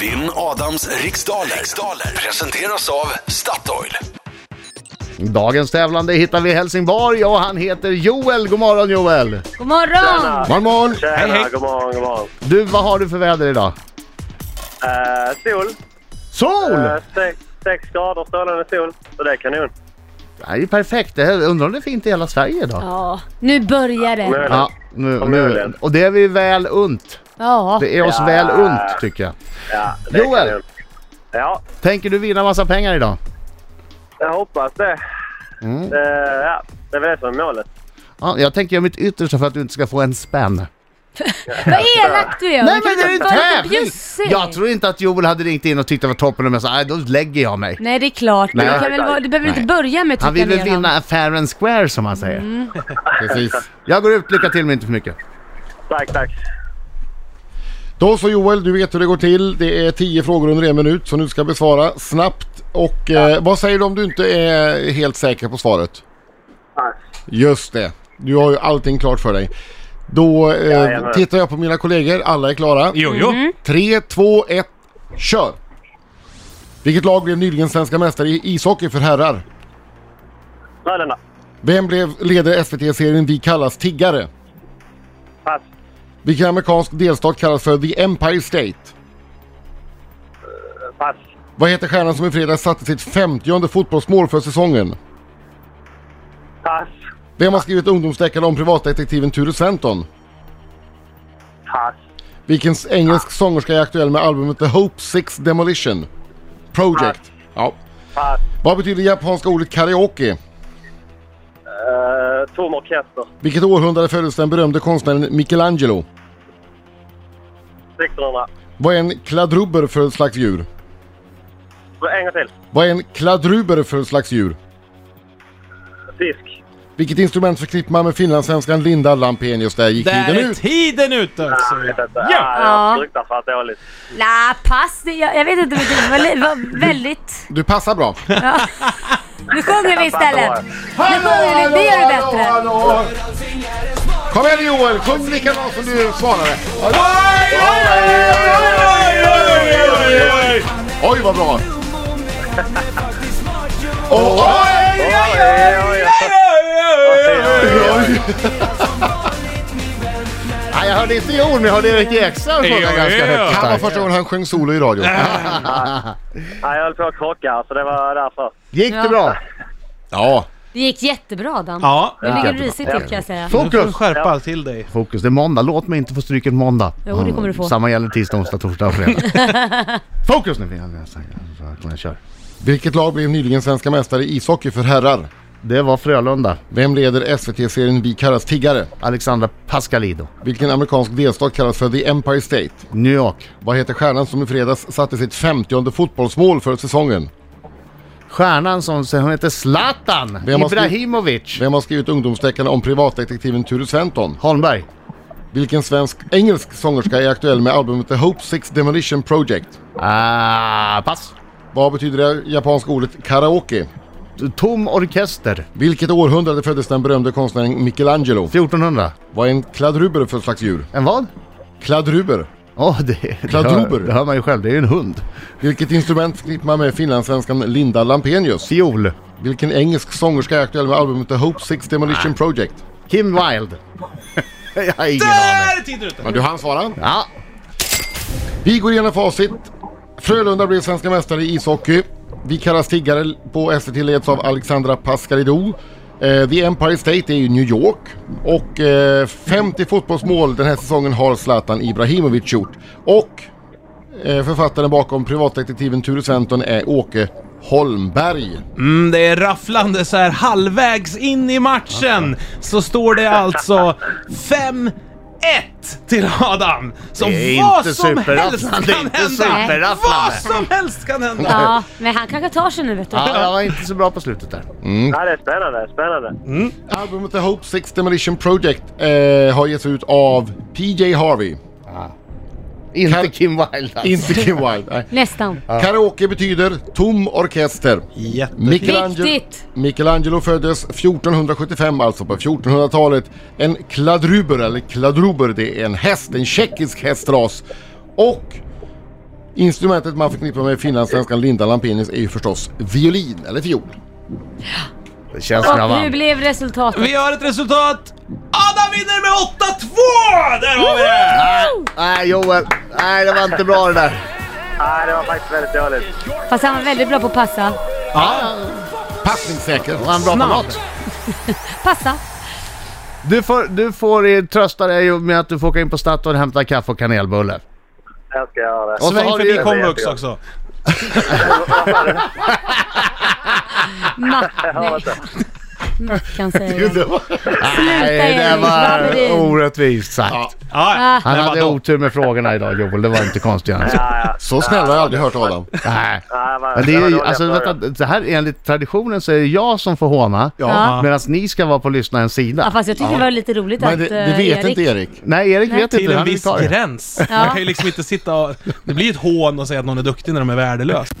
Vinn Adams riksdaler. riksdaler presenteras av Statoil. Dagens tävlande hittar vi i Helsingborg och han heter Joel. God morgon Joel! God morgon! Morgon, morgon. Tjena, Hej, hej. god morgon, god morgon. Du, vad har du för väder idag? Eh, sol. Sol! Eh, sex, sex grader strålande sol. Så det är kanon. Det här är ju perfekt. Det här, undrar om det är fint i hela Sverige idag? Ja, nu börjar det. Men, Ja, nu, Om nu. möjligt. Och det är vi väl unt. Ja, Det är oss Ja. väl unt tycker jag. ja, det är Joel. kanon. Ja, Tänker du vinna massa pengar idag? jag hoppas det. Mm. Eh, ja, det är väl det som är målet. Ja, jag tänker göra mitt yttersta för att du inte ska få en spänn. vad elakt du är! Nej Du kan men det är ju inte en vara så tävling! bjussig. Jag tror inte att Joel hade ringt in och tyckt det var toppen och jag sa "Nej, då lägger jag mig. Nej det är klart, men Nej. du, kan väl, vara- du behöver Nej. inte börja med att Han trycka vill väl ner honom. vinna a fair and square som han säger. Precis. Jag går ut, lycka till men inte för mycket. Tack, tack. Då så Joel, du vet hur det går till. Det är 10 frågor under en minut som du ska besvara snabbt. Och eh, vad säger du om du inte är helt säker på svaret? Tack. Just det, du har ju allting klart för dig. Då eh, Jajamän. tittar jag på mina kollegor, alla är klara. Jo, jo. 3, 2, 1, kör! Vilket lag blev nyligen svenska mästare i ishockey för herrar? Frölunda. Vem blev ledare i SVT-serien Vi kallas tiggare? Pass. Vilken amerikansk delstat kallas för The Empire State? Pass. Vad heter stjärnan som i fredags satte sitt 50 fotbollsmål för säsongen? Pass. Vem har skrivit ungdomsdeckaren om privatdetektiven Ture Sventon? Pass. Vilken s- engelsk sångerska är aktuell med albumet The Hope Six Demolition? Project. Ja. Pass. Vad betyder det japanska ordet karaoke? Uh, tom orkester. Vilket århundrade föddes den berömde konstnären Michelangelo? 1600. Vad är en kladrubber för slags djur? En gång till. Vad är en kladruber för slags djur? Fisk. Vilket instrument förknippar man med finlandssvenskan Linda Lampenius? Där gick Där tiden är ut. tiden ut alltså! Ja! Ja. ja fruktansvärt dåligt. Nej pass, det, jag, jag vet inte, men det var, li- var väldigt... Du passar bra. Nu sjunger vi istället! Nu sjunger vi, det gör du bättre! hallå. Kom igen Joel, sjung likadant som du svarade. Oj vad bra! Oj, oj, oj. Nej, jag hörde inte Joel men jag hörde Erik Ekstrand sjunga Ja, ganska ja. högt. Han var här. första gången han sjöng solo i radio. Ja, jag höll på att krocka, så det var därför. Gick det Ja. bra? Ja, Det gick jättebra Dan. Ja, Nu ligger du risigt till kan jag säga. nu får du Fokus! skärpa till dig. Fokus, det är måndag. Låt mig inte få stryk en måndag. Jo, det kommer du få. Samma gäller tisdag, onsdag, torsdag och fredag. Fokus nu! Kom igen, kör. vilket lag blev nyligen svenska mästare i ishockey för herrar? Det var Frölunda. Vem leder SVT-serien Vi kallas tiggare? Alexandra Pascalido. Vilken amerikansk delstat kallas för The Empire State? New York. Vad heter stjärnan som i fredags satte sitt 50 fotbollsmål för säsongen? Stjärnan som hon heter Zlatan Vem har skrivit- Ibrahimovic. Vem har skrivit ungdomsdeckarna om privatdetektiven Ture Sventon? Holmberg. Vilken svensk, engelsk sångerska är aktuell med albumet The Hope Six Demolition Project? Ah, pass. Vad betyder det japanska ordet karaoke? Tom orkester. Vilket århundrade föddes den berömde konstnären Michelangelo? 1400. Vad är en kladruber för slags djur? En vad? Kladruber. Åh, det, det, hör, Kladruber. det hör man ju själv. Det är ju en hund. Vilket instrument förknippar man med finlandssvenskan Linda Lampenius? Fiol. Vilken engelsk sångerska är aktuell med albumet The Hope Six Demolition Project? Kim Wilde. Jag har ingen aning. Där är tiden ute! Men du hann svara. Ja, Vi går igenom facit. Frölunda blev svenska mästare i ishockey. Vi kallas tiggare på SVT leds av Alexandra Pascalidou. Eh, The Empire State är ju New York och eh, 50 fotbollsmål den här säsongen har Zlatan Ibrahimovic gjort. Och eh, författaren bakom privatdetektiven Ture Sventon är Åke Holmberg. Mm, det är rafflande så här halvvägs in i matchen så står det alltså 5-1 till Adam. Så Det är vad inte som helst kan superrafflande, inte hända. superrafflande. Vad som helst kan hända. Ja, men han kanske tar sig nu vet du. ja, jag var inte så bra på slutet där. Ja, det är spännande. Spännande. Albumet The Hope Six Demolition Project eh, har getts ut av PJ Harvey. Inte Kan- Kim Wilde alltså. Inte Kim Wilde. nej. Nästan. Karaoke betyder tom orkester. Jättefint. Michelangelo, Viktigt. Michelangelo föddes 1475, alltså på 1400-talet. En kladruber, eller kladruber, det är en häst, en tjeckisk hästras. Och Instrumentet man förknippar med finlandssvenskan Linda Lampenius är ju förstås violin, eller fiol. Det känns som jag Och hur vann. blev resultatet? Vi har ett resultat. Adam vinner med 8-2! Där har vi det! Nej Joel, nej det var inte bra det där. Nej, det var faktiskt väldigt dåligt. Fast han var väldigt bra på att passa. Passningssäker. Var han bra på Snabbt. något? Passa. Du får, du får eh, trösta dig med att du får åka in på Statoil och hämta kaffe och kanelbulle. Jag ska göra det. Och så Sväng har vi förbi ju- komvux också. Matt, nej. Matt kan säga det. Nej, det Erik var Wallin. orättvist sagt. Ja, Han det var hade då. otur med frågorna idag Joel, det var inte konstigt än så. Ja, ja. Så snäll har jag aldrig hört Adam. Nej. Ja, det var- Men det det var är ju, dåliga alltså frågor. vänta, det här enligt traditionen så är det jag som får håna. Ja. Medan ni ska vara på lyssna en Ja, sida. fast jag tyckte det var lite roligt Men att det, det eh, vet Erik... inte Erik. Nej, Erik vet Till inte. en Han viss vill ta det. gräns. Man kan ju liksom inte sitta och... Det blir ju ett hån att säga att någon är duktig när de är värdelös.